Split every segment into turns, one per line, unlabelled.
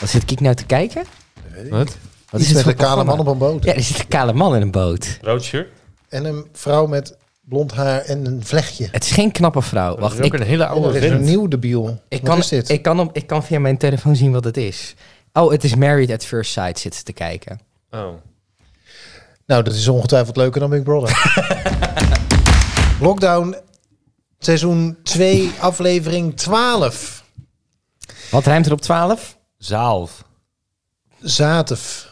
Wat zit ik nou te kijken?
Wat?
Wat
Iets
dit
met
voor
een kale man
programma?
op een boot.
Ja, er zit een kale man in een boot.
Rood shirt.
En een vrouw met blond haar en een vlechtje.
Het is geen knappe vrouw.
Dat
Wacht,
is ook
ik,
een hele
Oh, dat
oude
is een
vent.
nieuw debiel.
ik,
Wat
kan,
is dit?
ik, kan op, ik kan via mijn telefoon zien wat het is. Oh, het is Married at First Sight zit ze te kijken.
Oh.
Nou, dat is ongetwijfeld leuker dan Big Brother. Lockdown, seizoen 2, aflevering 12.
Wat ruimt er op 12?
Zaalf.
Zatef.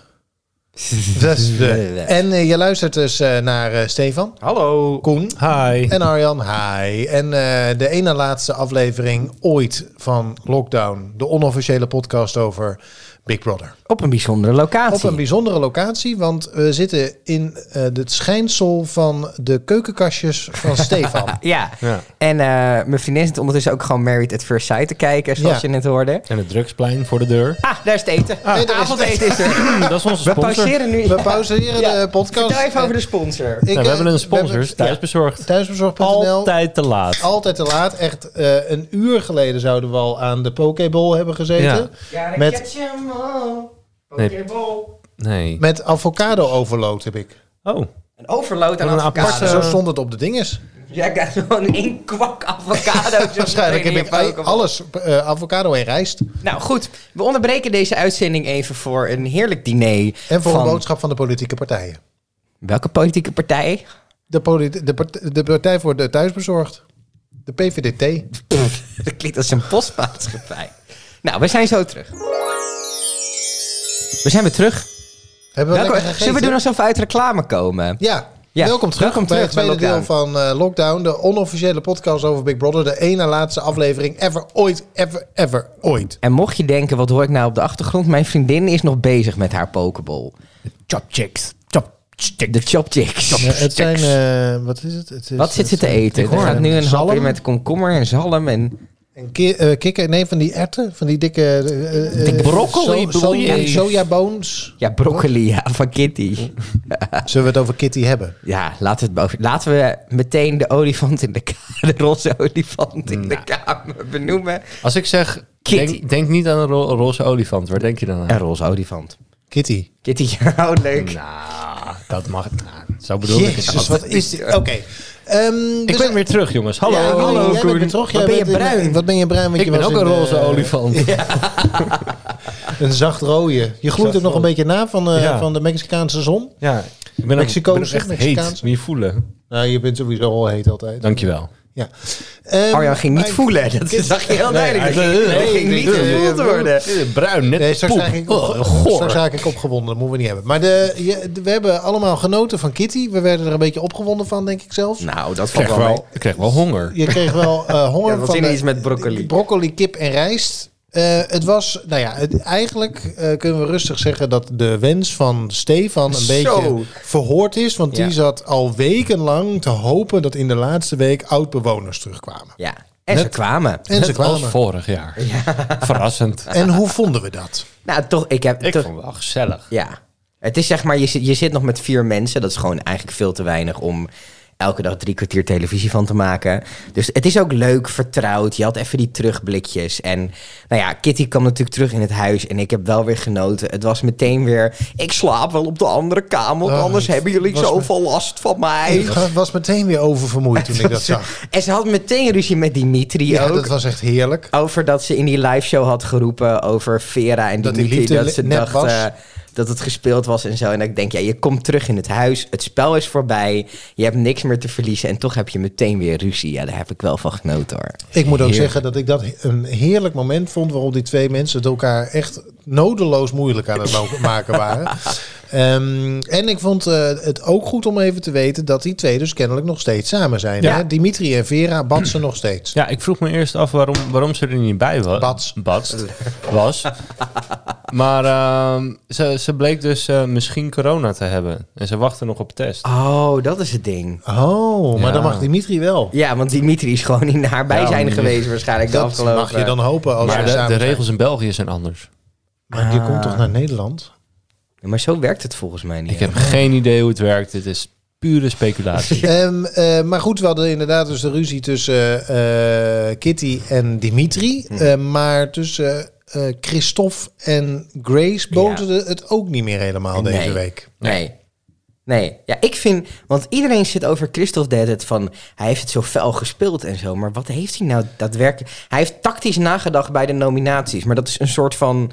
Dat is de- En eh, je luistert dus eh, naar eh, Stefan,
Hallo.
Koen
Hi.
en Arjan. Hi. En eh, de ene laatste aflevering ooit van Lockdown. De onofficiële podcast over Big Brother.
Op een bijzondere
Op
locatie.
een bijzondere locatie, want we zitten in eh, het schijnsel van de keukenkastjes van Stefan.
ja,
Ja.
en eh, mijn vriendin zit ondertussen ook gewoon Married at First Sight te kijken, zoals
Ja.
je net hoorde.
En het drugsplein voor de deur.
Ah, daar is het eten.
Nee, daar is het
Avondeten is er.
Hmm,
Dat is onze
We
sponsor. Nou,
pauzeren nu.
We pauzeren
Ja.
de podcast.
Vertel even over de sponsor.
Ik,
we
eh,
hebben een sponsor,
we hebben-
thuisbezorgd.
ja, Thuisbezorg.nl. Altijd.
Altijd te laat.
te laat. Echt eh, een uur geleden zouden we al aan de Pokéball hebben gezeten.
Ja.
Ja,
Met-
hem all.
Nee.
Pokeball.
Nee.
Met avocado overload heb ik.
Oh.
Een overload aan
Wat een
avocado.
aparte-
Zo stond het op de dinges.
Jij krijgt gewoon één kwak avocado's.
Waarschijnlijk heb
in je
ik ei-
Pokeball.
alles eh, avocado en rijst.
Nou goed, we onderbreken deze uitzending even voor een heerlijk diner.
En voor
van
een boodschap van de politieke partijen.
Welke politieke partij?
De, politi- de, part- de Partij voor de Thuisbezorgd. De PVDT.
Dat klinkt als een postmaatschappij. nou, we zijn zo terug. We zijn weer terug.
Hebben
Welke-
we lekker gegeten?
zullen we doen alsof we uit reclame komen?
Ja.
Ja,
welkom terug
welkom
bij het
terug bij
tweede deel van eh, Lockdown. De onofficiële podcast over Big Brother. De ene laatste aflevering ever, ooit, ever, ever, ooit.
En mocht je denken, wat hoor ik nou op de achtergrond? Mijn vriendin is nog bezig met haar pokeball. Chop chicks. Chop chicks. De chop chicks.
Ja, het zijn, eh, wat is het? het is, eh,
Wat zit ze te eten?
Ik
Er
hoor
gaat nu een hap in
zalm
met komkommer en zalm en...
en ki eh, kikker. Nee, van die erwten. Van die dikke... eh, eh,
Dikke
broccoli,
so- so-
bedoel je?
sojabones.
Ja, broccoli ja, van Kitty.
Zullen we het over Kitty hebben?
Ja, laten we, het boven. laten we meteen de olifant in de kamer, de roze olifant in de kamer benoemen.
Als ik zeg,
Kitty.
denk, denk niet aan een ro- roze olifant. Waar denk je dan aan?
Een roze olifant.
Kitty.
Kitty, oh leuk.
Nou, dat mag. Nou, zo bedoel ik het.
Jezus, wat is dit? Oké. Ehm, we
Ik ben
zijn-
weer terug, jongens. Hallo,
Ja,
hallo,
jij bent weer
Koen.
Wat
terug. Jij
ben je
bent in-
bruin?
Wat ben je bruin? Want
Ik
je
ben
was eh,
ook
in
een
de-
roze olifant.
Een zacht rode. Je gloeit ook nog een beetje na van, eh,
Ja.
van de Mexicaanse zon.
Ja, ik ben ook-
Mexico,
ik ben ook
zeg
echt
Mexicaans.
heet. Moet je voelen.
Nou, je bent sowieso al heet altijd.
Dankjewel.
Ja. Ehm,
Oh
Arjan ging niet
maar-
voelen, dat
Kitty-
zag je heel
Nee,
duidelijk.
hij-
Hij
nee,
ging
ik
niet
denk-
gevoeld worden.
Eh, Bruin, net
Nee, straks
poep.
raak, ik
Oh,
op, straks raak ik opgewonden. Dat moeten we niet hebben. Maar de, je- de- we hebben allemaal genoten van Kitty. We werden er een beetje opgewonden van, denk ik zelfs.
Nou, dat
Ik kreeg
valt wel mee.
wel, ik kreeg wel honger.
Je kreeg wel eh, honger
Ja, wat
van
zin
de-
is met broccoli?
broccoli, kip en rijst. Eh, het was, nou ja, het- eigenlijk eh, kunnen we rustig zeggen dat de wens van Stefan een
Zo.
beetje verhoord is. Want
Ja.
die zat al wekenlang te hopen dat in de laatste week oud-bewoners terugkwamen.
Ja, en ze
Net-
kwamen.
En ze
Net als
kwamen.
vorig jaar. Verrassend.
En hoe vonden we dat?
Nou, toch, ik heb...
Ik
toch,
vond het wel gezellig.
Ja. Het is zeg maar, je zit, je zit nog met vier mensen. Dat is gewoon eigenlijk veel te weinig om elke dag drie kwartier televisie van te maken. Dus het is ook leuk, vertrouwd. Je had even die terugblikjes. En nou ja, Kitty kwam natuurlijk terug in het huis. En ik heb wel weer genoten. Het was meteen weer, ik slaap wel op de andere kamer. Want
Ah,
anders
het
hebben jullie
was
zoveel last van mij.
Ik ga- was meteen weer oververmoeid toen ik dat zag.
En ze had meteen ruzie met Dimitri
Ja,
ook.
dat was echt heerlijk.
Over dat ze in die liveshow had geroepen over Vera en
Dat die
Dimitri.
liefde
dat ze
net
dacht
was.
eh, dat het gespeeld was en zo. En dat ik denk, ja, je komt terug in het huis. Het spel is voorbij. Je hebt niks meer te verliezen. En toch heb je meteen weer ruzie. Ja, daar heb ik wel van genoten hoor.
Ik moet ook zeggen dat ik dat een heerlijk moment vond waarop die twee mensen het elkaar echt nodeloos moeilijk aan het mo- maken waren. Ehm, en ik vond eh, het ook goed om even te weten dat die twee dus kennelijk nog steeds samen zijn.
Ja.
Hè? Dimitri en Vera batsen nog steeds.
Ja, ik vroeg me eerst af waarom, waarom ze er niet bij was.
Bats.
was. Maar ehm, ze, ze bleek dus eh, misschien corona te hebben. En ze wachten nog op test.
Oh, dat is het ding.
Oh, maar
Ja.
dan mag Dimitri wel.
Ja, want Dimitri is gewoon in haar bijzijn
maar-
geweest waarschijnlijk de
Dat
afgelopen...
mag je dan hopen als
maar
ze
de,
samen
de Ah.
zijn.
regels in België zijn anders.
Maar je komt toch naar Nederland?
Ja, Maar zo werkt het volgens mij niet.
Ik heb geen idee hoe het werkt. Dit is pure speculatie.
Ehm, eh, maar goed, we hadden inderdaad
Hm.
dus de ruzie tussen eh, eh, Kitty en Dimitri. Eh, maar tussen eh Christophe en Grace boten het ook niet meer helemaal
Nee.
deze week.
Nee. Nee. Ja, ik vind... Want iedereen zit over Christophe deed het van... Hij heeft het zo fel gespeeld en zo. Maar wat heeft hij nou daadwerkelijk... Hij heeft tactisch nagedacht bij de nominaties. Maar dat is een soort van...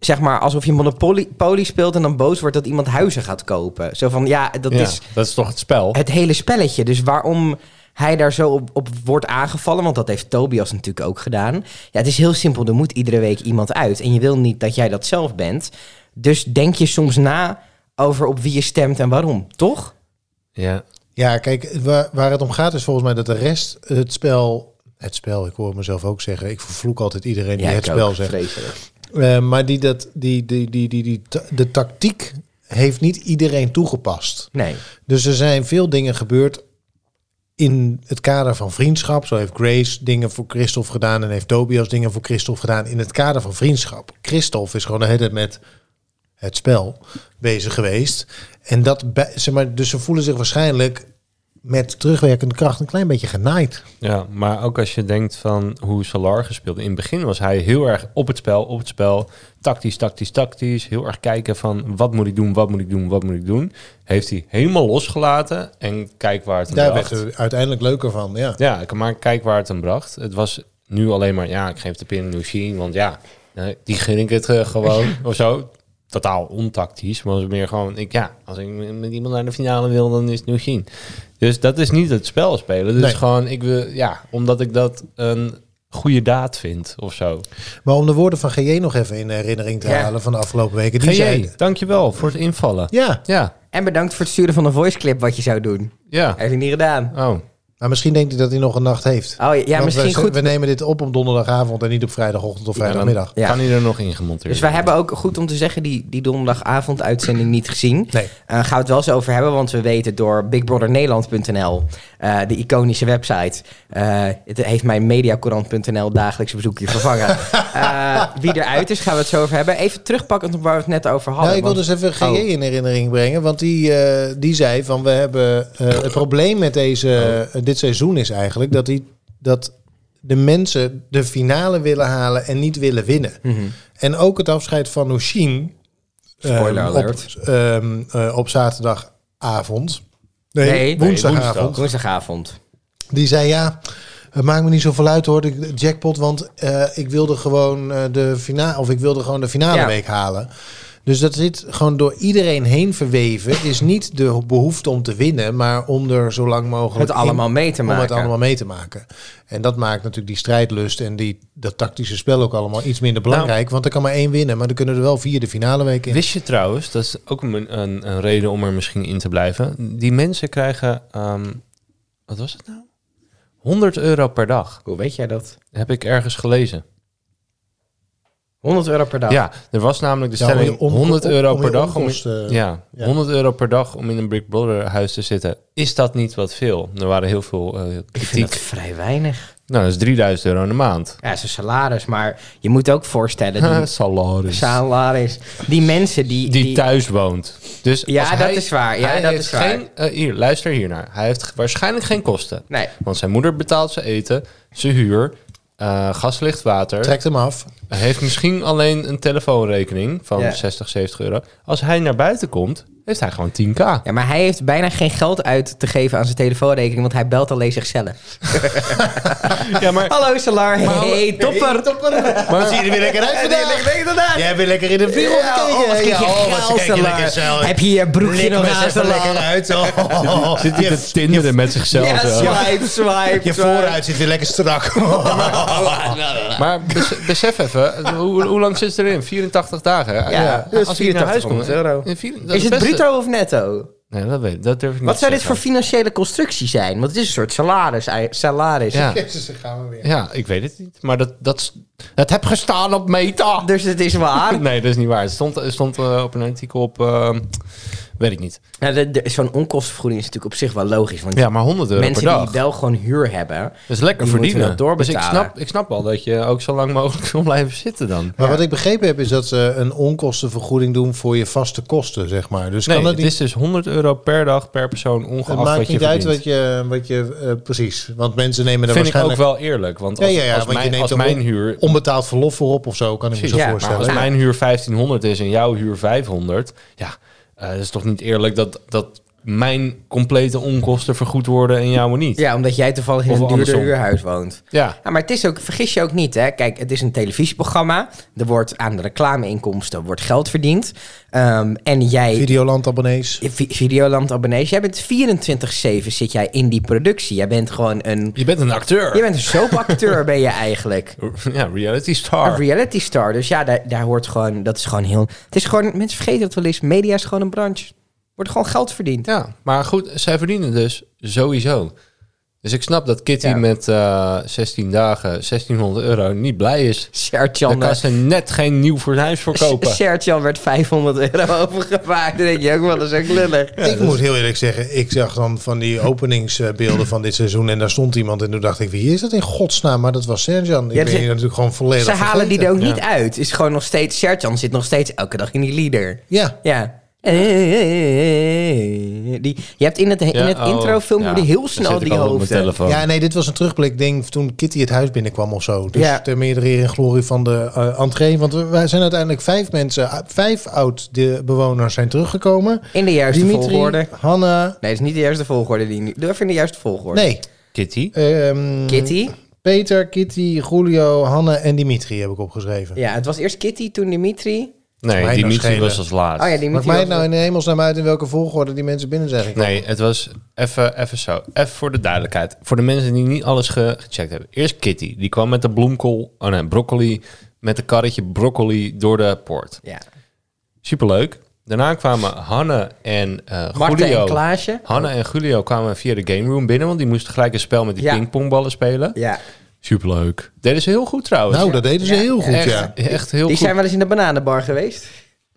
Zeg maar alsof je Monopoly Monopoly speelt en dan boos wordt dat iemand huizen gaat kopen. Zo van, ja, dat
ja,
is
dat is toch het spel?
het hele spelletje. Dus waarom hij daar zo op, op wordt aangevallen, want dat heeft Tobias natuurlijk ook gedaan. Ja, het is heel simpel, er moet iedere week iemand uit. En je wil niet dat jij dat zelf bent. Dus denk je soms na over op wie je stemt en waarom, toch?
Ja.
Ja, kijk, waar, waar het om gaat is volgens mij dat de rest het spel... Het spel, ik hoor mezelf ook zeggen. Ik vervloek altijd iedereen die
ja,
het
ik
spel
ook,
zegt.
Vreselijk.
Eh, maar die, dat, die, die, die, die, die, ta- de tactiek heeft niet iedereen toegepast.
Nee.
Dus er zijn veel dingen gebeurd in het kader van vriendschap. Zo heeft Grace dingen voor Christophe gedaan en heeft Tobias dingen voor Christophe gedaan in het kader van vriendschap. Christophe is gewoon de hele tijd met het spel bezig geweest. En dat, bij- zeg maar, dus ze voelen zich waarschijnlijk met terugwerkende kracht een klein beetje genaaid.
ja, maar ook als je denkt van hoe Solar gespeeld. In het begin was hij heel erg op het spel, op het spel. Tactisch, tactisch, tactisch. Heel erg kijken van wat moet ik doen, wat moet ik doen, wat moet ik doen. Heeft hij helemaal losgelaten en kijk waar het hem
Daar werd
bracht.
er uiteindelijk leuker van, ja.
Ja, ik- maar kijk waar het hem bracht. Het was nu alleen maar, ja, ik geef de pin een zien, want ja, eh, die gun ik het eh, gewoon of zo. Totaal ontactisch, maar het was meer gewoon, ik, ja, als ik met met iemand naar de finale wil, dan is het nu zien. Dus dat is niet het spel spelen. Dus
Nee.
gewoon, ik wil, ja, omdat ik dat een goede daad vind of zo.
Maar om de woorden van GJ nog even in herinnering te
Ja.
halen van de afgelopen weken. Die
GJ,
zeiden-
dankjewel voor het invallen.
Ja,
Ja,
En bedankt voor het sturen van een voice clip wat je zou doen.
ja.
Heeft hij niet gedaan.
Oh,
maar misschien denkt hij dat hij nog een nacht heeft.
Oh ja, ja,
Want eh,
misschien
we,
goed.
We nemen dit op op donderdagavond en niet op vrijdagochtend of
ja, dan Oh,
vrijdagmiddag.
Ja.
Kan hij er nog in gemonteerd
Dus wij
worden?
hebben ook, goed om te zeggen, die, die donderdagavond-uitzending niet gezien.
Nee.
Eh, gaan we het wel eens over hebben, want we weten door bigbrother-nederland.nl, eh, de iconische website, eh, het heeft mijn mediacorant.nl dagelijks bezoekje vervangen. Eh, wie eruit is, gaan we het zo over hebben. Even terugpakkend op waar we het net over hadden.
Nou, ik wil
want-
dus even GJ
Oh.
in herinnering brengen, want die, eh, die zei van we hebben eh, het probleem met deze, eh, dit seizoen is eigenlijk dat, die, dat de mensen de finale willen halen en niet willen winnen.
Mhm.
En ook het afscheid van Oshin
Spoiler alert.
op, ehm, eh, op zaterdagavond. Nee,
Nee, nee,
woensdagavond.
woensdag.
Woensdagavond.
Die zei ja, het maakt me niet zoveel uit hoor, de jackpot. Want eh, ik wilde gewoon eh, de finale of ik wilde gewoon de finale
Ja.
week halen. Dus dat zit gewoon door iedereen heen verweven. Is niet de behoefte om te winnen, maar om er zo lang mogelijk
Het allemaal mee te
in,
maken.
om het allemaal mee te maken. En dat maakt natuurlijk die strijdlust en die, dat tactische spel ook allemaal iets minder belangrijk.
Nou.
want er kan maar één winnen, maar er kunnen er wel vier de finale week in.
Wist je trouwens, dat is ook een, een, een reden om er misschien in te blijven. Die mensen krijgen, ehm, wat was het nou? 100 euro per dag,
Hoe weet jij dat?
heb ik ergens gelezen.
100 euro per dag.
Ja, er was namelijk de
Ja, om je
stelling
on-
100
om-
euro
om je
per dag.
onkosten- eh,
om, ja,
ja.
100 euro per dag om in een Big Brother huis te zitten. Is dat niet wat veel? Er waren heel veel eh,
Ik vind dat
kritiek.
vrij weinig.
Nou, dat is 3000 euro in de maand.
Ja, zijn salaris, maar je moet ook voorstellen... Die,
Salaris.
Salaris. Die mensen die...
die thuis woont. Dus
Ja,
als
dat
hij-
is waar. Ja,
hij
dat
heeft
is waar.
Geen, eh, hier, luister hiernaar. Hij heeft waarschijnlijk geen kosten.
Nee.
Want zijn moeder betaalt zijn eten, zijn huur, eh gas, licht, water.
Trekt hem af.
Hij heeft misschien alleen een telefoonrekening van
Ja.
60, 70 euro. Als hij naar buiten komt, heeft hij gewoon 10k.
Ja, maar hij heeft bijna geen geld uit te geven aan zijn telefoonrekening, want hij belt alleen zichzelf.
Ja, maar,
Hallo Salar, hey, topper!
Topper.
maar
Zie je er weer lekker uit vandaag?
weet het inderdaad.
Jij bent lekker in de vliegel
oh, wat kijk je geil, Salar. Heb je je broekje nog aan, Salar?
uit. oh,
zit hij te tinderen met zichzelf. eh?
Ja,
zo.
swipe, swipe,
Je
swipe.
vooruit zit weer lekker strak.
Maar bes- besef even, hoe, hoe lang zit het erin? 84 dagen. hè?
Ja, dus
als hij naar huis komt.
8400 euro.
eh, vier- dat
Is het
best-
bruto of netto?
Nee, dat, weet, ik- dat durf ik niet
Wat
te
zou dit
zeggen.
voor financiële constructie zijn? Want het is een soort salaris. ei- salaris.
Ja.
Jezus, daar gaan we weer.
Ja, ik weet het niet. Maar dat, dat, het heb gestaan op Meta.
Dus het is waar.
Nee, dat is niet waar. Het stond, het stond eh, op een artikel op eh, Weet ik niet.
Nou, de- de- Zo'n onkostenvergoeding is natuurlijk op zich wel logisch. Want
Ja, maar 100 euro
mensen
per
die
dag.
wel gewoon huur hebben.
Dat is
Die
lekker
moeten
verdienen.
dat
dus ik
doorbetalen.
snap, ik snap wel dat je ook zo lang mogelijk wil blijven zitten dan.
Maar wat ik begrepen heb is dat ze een onkostenvergoeding doen voor je vaste kosten, zeg maar. Dus
Nee,
kan dat
het
niet?
is dus 100 euro per dag per persoon,
Het
ongeacht
maakt
wat je
niet uit
verdient.
wat je, wat je eh, precies. Want mensen nemen er
vind ik ook
waarschijnlijk
wel eerlijk. Want als,
Ja, ja, ja,
als
want je
mijn,
neemt
als
hem
mijn
op.
huur...
onbetaald verlof voor op of zo, kan ik me zo
Precies, ja, maar
voorstellen.
als mijn huur 1500 is en jouw huur 500... Ja, eh dat is toch niet eerlijk dat, dat mijn complete onkosten vergoed worden en jouwe niet?
Ja, omdat jij toevallig in
Of
een duurder
andersom.
huurhuis woont.
Ja.
Ja, maar het is ook, vergis je ook niet, hè. Kijk, het is een televisieprogramma. Er wordt aan de reclameinkomsten wordt geld verdiend. Ehm, en jij,
Videoland-abonnees.
vi- Videoland-abonnees, jij bent 24-7 zit jij in die productie. Jij bent gewoon een,
Je bent een acteur.
je bent een soapacteur ben je eigenlijk.
Ja, reality
Een
star.
reality star. Dus ja, daar, daar hoort gewoon, dat is gewoon heel... Het is gewoon, mensen vergeten het wel eens, media is gewoon een branche. Wordt gewoon geld verdiend.
Ja, maar goed, zij verdienen dus sowieso. Dus ik snap dat Kitty
Ja.
met eh, 16 dagen 1600 euro niet blij is. Dan
Sertjan,
kan ze net geen nieuw fornuis voor kopen.
Sertjan werd 500 euro overgemaakt. Dan denk je ook wel, dat is ook lullig.
ik moet heel eerlijk zeggen, ik zag dan van die openingsbeelden van dit seizoen en daar stond iemand en toen dacht ik, wie is dat in godsnaam? Maar dat was Serjan. Ik
Ja,
ben
ze-
hier natuurlijk gewoon volledig
Ze halen die er
vergeten.
ook
Ja.
niet uit. Is gewoon nog steeds. Sertjan zit nog steeds elke dag in die leader.
Ja,
Ja. Eh, Die, je hebt in het, in
Ja,
het
oh,
intro filmpje
ja.
heel
Daar
snel
zit ik
die
al op mijn
hoofden.
telefoon.
Ja, nee, dit was een terugblik ding toen Kitty het huis binnenkwam of zo. Dus
Ja.
ter meerdere eer in glorie van de eh, entree. Want we, wij zijn uiteindelijk vijf mensen, ah, vijf oud-bewoners zijn teruggekomen.
In de juiste volgorde.
Dimitri,
Nee,
Hanna,
het is niet de juiste volgorde die nu. Doe even in de juiste volgorde.
nee,
Kitty?
ehm,
Kitty.
Peter, Kitty, Julio, Hanna en Dimitri heb ik opgeschreven.
Ja, het was eerst Kitty, toen Dimitri.
Nee,
nou
Dimitri
schelen.
was als laatst.
Oh ja,
Maakt
Dimitri.
mij
was-
het nou in de hemelsnaam uit in welke volgorde die mensen binnen zijn gekomen?
Nee, het was even even zo. Even voor de duidelijkheid. Voor de mensen die niet alles ge- gecheckt hebben. Eerst Kitty. Die kwam met de bloemkool... Oh nee, broccoli. Met een karretje broccoli door de poort.
Ja.
Superleuk. Daarna kwamen Hanne en eh
Marta
Julio.
en Klaasje.
Hanna en Julio kwamen via de game room binnen, want die moesten gelijk een spel met die
Ja.
pingpongballen spelen.
Ja.
Superleuk. Deden ze heel goed trouwens.
Nou, dat deden ze
Ja,
heel goed,
echt,
ja.
echt heel
Die
goed.
zijn wel eens in de bananenbar geweest.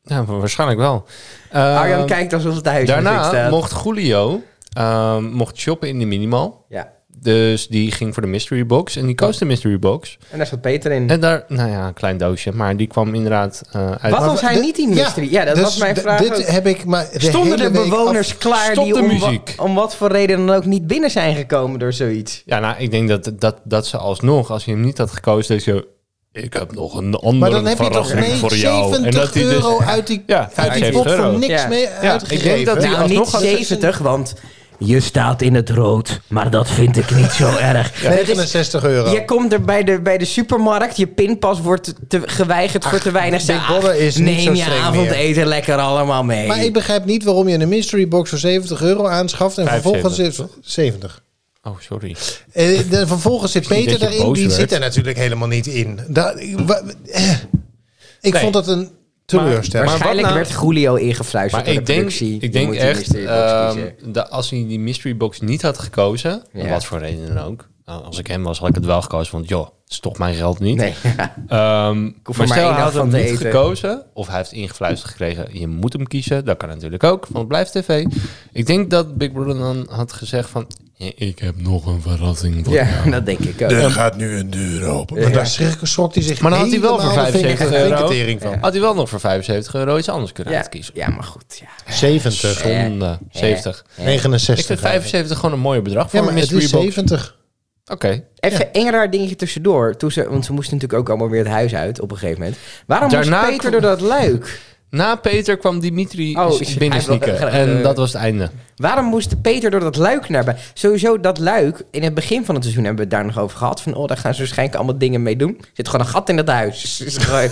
Ja, wa- waarschijnlijk wel.
Arjan
Ehm,
kijkt alsof het huis in de fik
daarna
staat.
mocht Julio ehm, mocht shoppen in de minimal.
Ja.
Dus die ging voor de mystery box en die koos de mystery box.
En daar zat Peter in.
En daar, nou ja, een klein doosje, maar die kwam inderdaad eh, uit.
Wat
Maar
als
we-
hij
dit-
niet die mystery- ja, dat was mijn
d-
vraag ook.
Dit heb ik maar de
Stonden
hele
de
week af-
bewoners klaar
Stop
die
de
om,
muziek.
wa- om wat voor reden dan ook niet binnen zijn gekomen door zoiets?
Ja, nou, ik denk dat, dat, dat ze alsnog, als je hem niet had gekozen, dat je... Ik heb nog een andere
Maar dan heb je toch
verrassing
nee,
voor jou.
70
hij dus-
euro uit die,
Ja,
uit die
75
pot
euro.
voor niks
Ja.
mee uitgegeven.
ik denk dat die
Nou, niet
alsnog had-
70, want je staat in het rood, maar dat vind ik niet zo erg. Het is-
69 euro.
je komt er bij de, bij de supermarkt, je pinpas wordt te, geweigerd voor te weinig.
Big
Zeg,
Brother is niet
neem
zo
je
streng
avondeten lekker allemaal mee.
Maar ik begrijp niet waarom je een mystery box voor 70 euro aanschaft en
75,
vervolgens is 70.
Oh, sorry.
Eh, de- vervolgens zit
Misschien
Peter
dat je
daarin,
boos
die
werd.
zit er natuurlijk helemaal niet in. Da- ik wa- eh. ik
Nee.
vond dat een teleurstelling.
maar
Waarschijnlijk
wat nou-
werd Julio ingefluisterd
Maar
door
ik
de
denk,
productie.
ik
Je
denk
moet die
echt,
mystery box
ehm,
kiezen.
dat als hij die mystery box niet had gekozen, om
Ja.
wat voor reden dan ook. nou, Als ik hem was, had ik het wel gekozen, want joh, het is toch mijn geld niet.
Nee,
Ehm,
hoef
maar
er maar
stel,
één
hij had
dag
hem
van
niet
te eten.
gekozen, of hij heeft ingefluisterd gekregen, je moet hem kiezen. Dat kan natuurlijk ook, want het blijft tv. Ik denk dat Big Brother dan had gezegd van, "Ja, ik heb nog een verrassing voor
ja,
jou."
dat denk ik ook.
Er gaat nu een deur open. Ehm. Maar daar schrik, schrok hij zich
Maar dan had hij wel voor
helemaal de vinger-
75 euro.
vinkertering van.
Had hij wel nog voor 75 euro iets anders kunnen
Ja,
uitkiezen.
ja, maar goed, ja.
70,
Zonde, 70. Ik
69.
vind 75 gewoon een mooie bedrag voor
Ja,
een
maar het
mystery
is
box.
70.
Oké.
Even een raar dingetje tussendoor. Toen ze, want ze moesten natuurlijk ook allemaal weer het huis uit op een gegeven moment. Waarom
Daarna
moest Peter
kon-
door dat luik?
Na Peter kwam Dimitri
Oh,
oh,
ik-
binnen
hij wil-
sneaken.
eh,
en
eh,
dat was het einde.
Waarom moest Peter door dat luik naar buiten? Sowieso dat luik. In het begin van het seizoen hebben we het daar nog over gehad. Van, oh, daar gaan ze waarschijnlijk allemaal dingen mee doen. Er zit gewoon een gat in dat huis. Is gewoon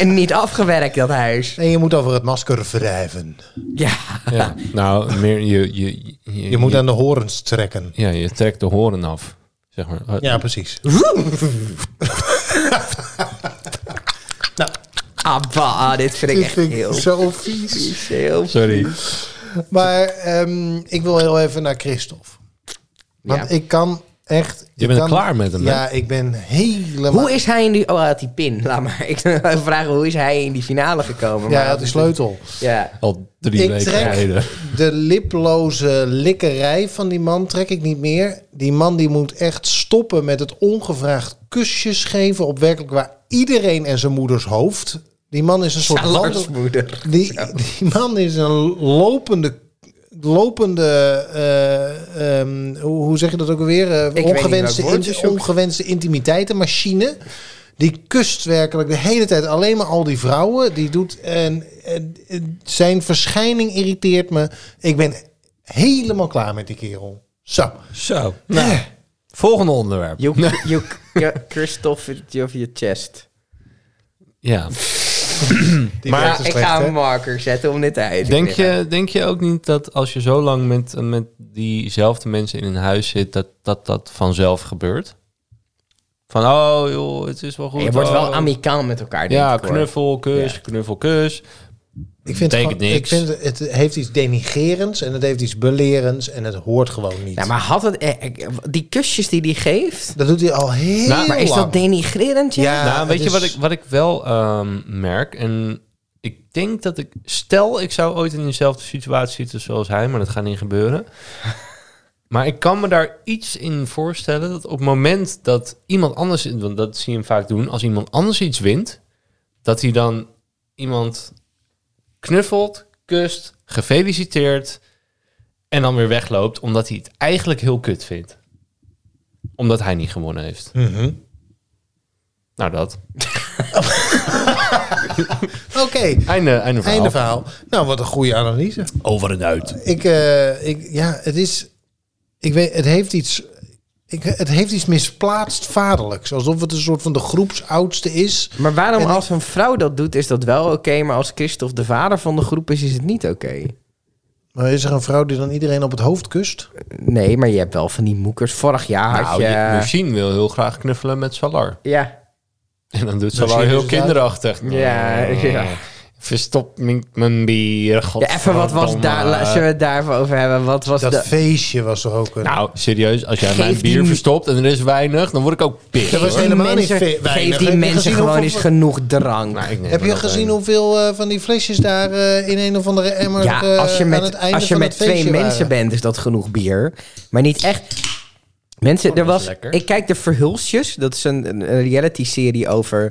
n- niet afgewerkt, dat huis.
En je moet over het masker wrijven.
Ja.
Ja. nou, meer, je, je, je,
Je moet aan de horens trekken.
Ja, je trekt de horen af. Zeg maar. Eh,
Ja, precies.
Ah, bah, dit vind ik echt heel
zo vies.
vies, heel-
Sorry.
Maar ehm, ik wil heel even naar Christophe. Want
Ja.
ik kan Echt.
Je
ik
bent er klaar met hem, hè?
Ja, ik ben helemaal...
Hoe is hij in die... Oh, hij had die pin. Laat maar. Ik vraag hoe is hij in die finale gekomen?
ja,
Maar
hij had de sleutel.
Ja.
Al drie
Ik
weken
trek-
geleden.
De liploze likkerij van die man trek ik niet meer. Die man die moet echt stoppen met het ongevraagd kusjes geven op werkelijk waar iedereen en zijn moeders hoofd. Die man is een soort wandel-
Salarsmoeder.
Die, die man is een lopende, lopende eh, ehm, hoe, hoe zeg je dat ook alweer? Eh,
weet niet
ongewenste,
welk woord je
in-
zoekt.
ongewenste intimiteitenmachine. Die kust werkelijk de hele tijd alleen maar al die vrouwen. Die doet, en, en- en zijn verschijning irriteert me. Ik ben helemaal klaar met die kerel. Zo.
Zo. Nou, volgende onderwerp.
You, you, Christophe of je chest.
Ja.
Die
Maar
werkte
ik
slecht,
ga
hè?
een marker zetten om dit uit te
Denk
knippen.
je, denk je ook niet dat als je zo lang met, met diezelfde mensen in een huis zit, dat dat, dat vanzelf gebeurt? Van, oh joh, het is wel goed.
Je wordt
oh.
wel amicaal met elkaar, denk
Ja,
ik, hoor.
knuffel, kus, knuffel, kus.
Ik vind, het,
Betekent
gewoon- ik
niks.
vind het, het heeft iets denigerends en het heeft iets belerends en het hoort gewoon niet.
Nou, maar had het... eh, eh, die kusjes die die geeft...
Dat doet hij al heel
Nou,
Maar is
lang.
dat denigrerend, ja?
Ja,
nou,
het
weet je
is-
wat ik, wat ik wel ehm, merk? En ik denk dat ik... Stel, ik zou ooit in dezelfde situatie zitten zoals hij, maar dat gaat niet gebeuren. Maar ik kan me daar iets in voorstellen dat op het moment dat iemand anders... Want dat zie je hem vaak doen. Als iemand anders iets wint, dat hij dan iemand knuffelt, kust, gefeliciteerd... en dan weer wegloopt, omdat hij het eigenlijk heel kut vindt. Omdat hij niet gewonnen heeft.
Mhm.
Nou, dat.
Oké,
Einde, einde verhaal.
einde verhaal. Nou, wat een goede analyse.
Over en uit.
Ik, eh, ik, ja, het is, ik weet, het heeft iets, ik, het heeft iets misplaatst vaderlijks. Alsof het een soort van de groepsoudste is.
Maar waarom
En-
als een vrouw dat doet, is dat wel oké... maar als Christophe de vader van de groep is, is het niet oké?
Maar is er een vrouw die dan iedereen op het hoofd kust?
Nee, maar je hebt wel van die moekers. Vorig jaar had
Nou,
je...
je- Machine wil heel graag knuffelen met Salar.
Ja,
En dan doet
Machine
Salar heel
is het
kinderachtig. Oh,
Ja, ja.
Verstop mijn- mijn bier.
ja even wat was
godverdomme.
daar... la- Zullen we het daarover over hebben? Wat was
Dat
de...
feestje was toch ook een...
Nou, serieus, als jij
Geef
mijn bier
die-
verstopt en er is weinig, dan word ik ook pissig.
Dat was
hoor.
Die
helemaal niet
mensen,
ve- weinig.
geef
Heb
die
je
mensen
gezien
gewoon
hoeveel-
eens genoeg drank.
Nou, ik neem
heb
er
je
nog
gezien
een.
hoeveel eh, van die flesjes daar eh, in een of andere emmer
Ja,
eh,
als je
aan het
met,
einde
als je
van
met
het
twee
feestje
mensen
waren?
bent, is dat genoeg bier. Maar niet echt. Mensen,
Oh,
er
dat is
was.
lekker.
Ik kijk de Verhulstjes. Dat is een, een reality-serie over,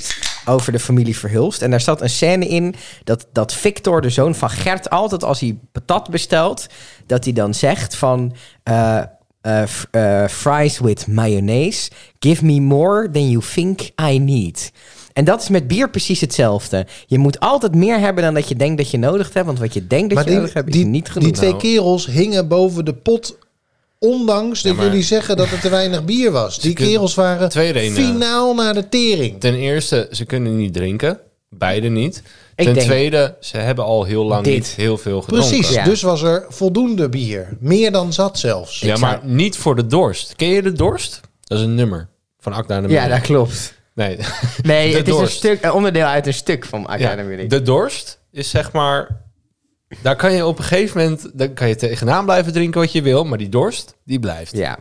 over de familie Verhulst. En daar zat een scène in dat, dat Victor, de zoon van Gert, altijd als hij patat bestelt, dat hij dan zegt van. eh, eh, f- eh, fries with mayonnaise. Give me more than you think I need. En dat is met bier precies hetzelfde. Je moet altijd meer hebben dan dat je denkt dat je nodig hebt. Want wat je denkt dat je nodig hebt, is niet genoeg.
die twee
Nou.
kerels hingen boven de pot. Ondanks dat
Ja, maar-
jullie zeggen dat er te weinig bier was. Die
kunnen-
kerels waren
Twee redenen.
finaal naar de tering.
Ten eerste, ze kunnen niet drinken. Beide niet.
Ik
Ten
denk-
tweede, ze hebben al heel lang
Dit.
niet heel veel gedronken.
Precies,
Ja.
dus was er voldoende bier. Meer dan zat zelfs.
Ja,
Ik
maar
zou-
niet voor de dorst. Ken je de dorst? Dat is een nummer van Akda en de
Ja,
Munnik.
dat klopt. Nee,
Nee, Nou. De
het is een,
dorst.
stuk, een onderdeel uit een stuk van Academy
ja, de dorst is zeg maar... Daar kan je op een gegeven moment... Dan kan je tegenaan blijven drinken wat je wil. Maar die dorst, die blijft.
Ja.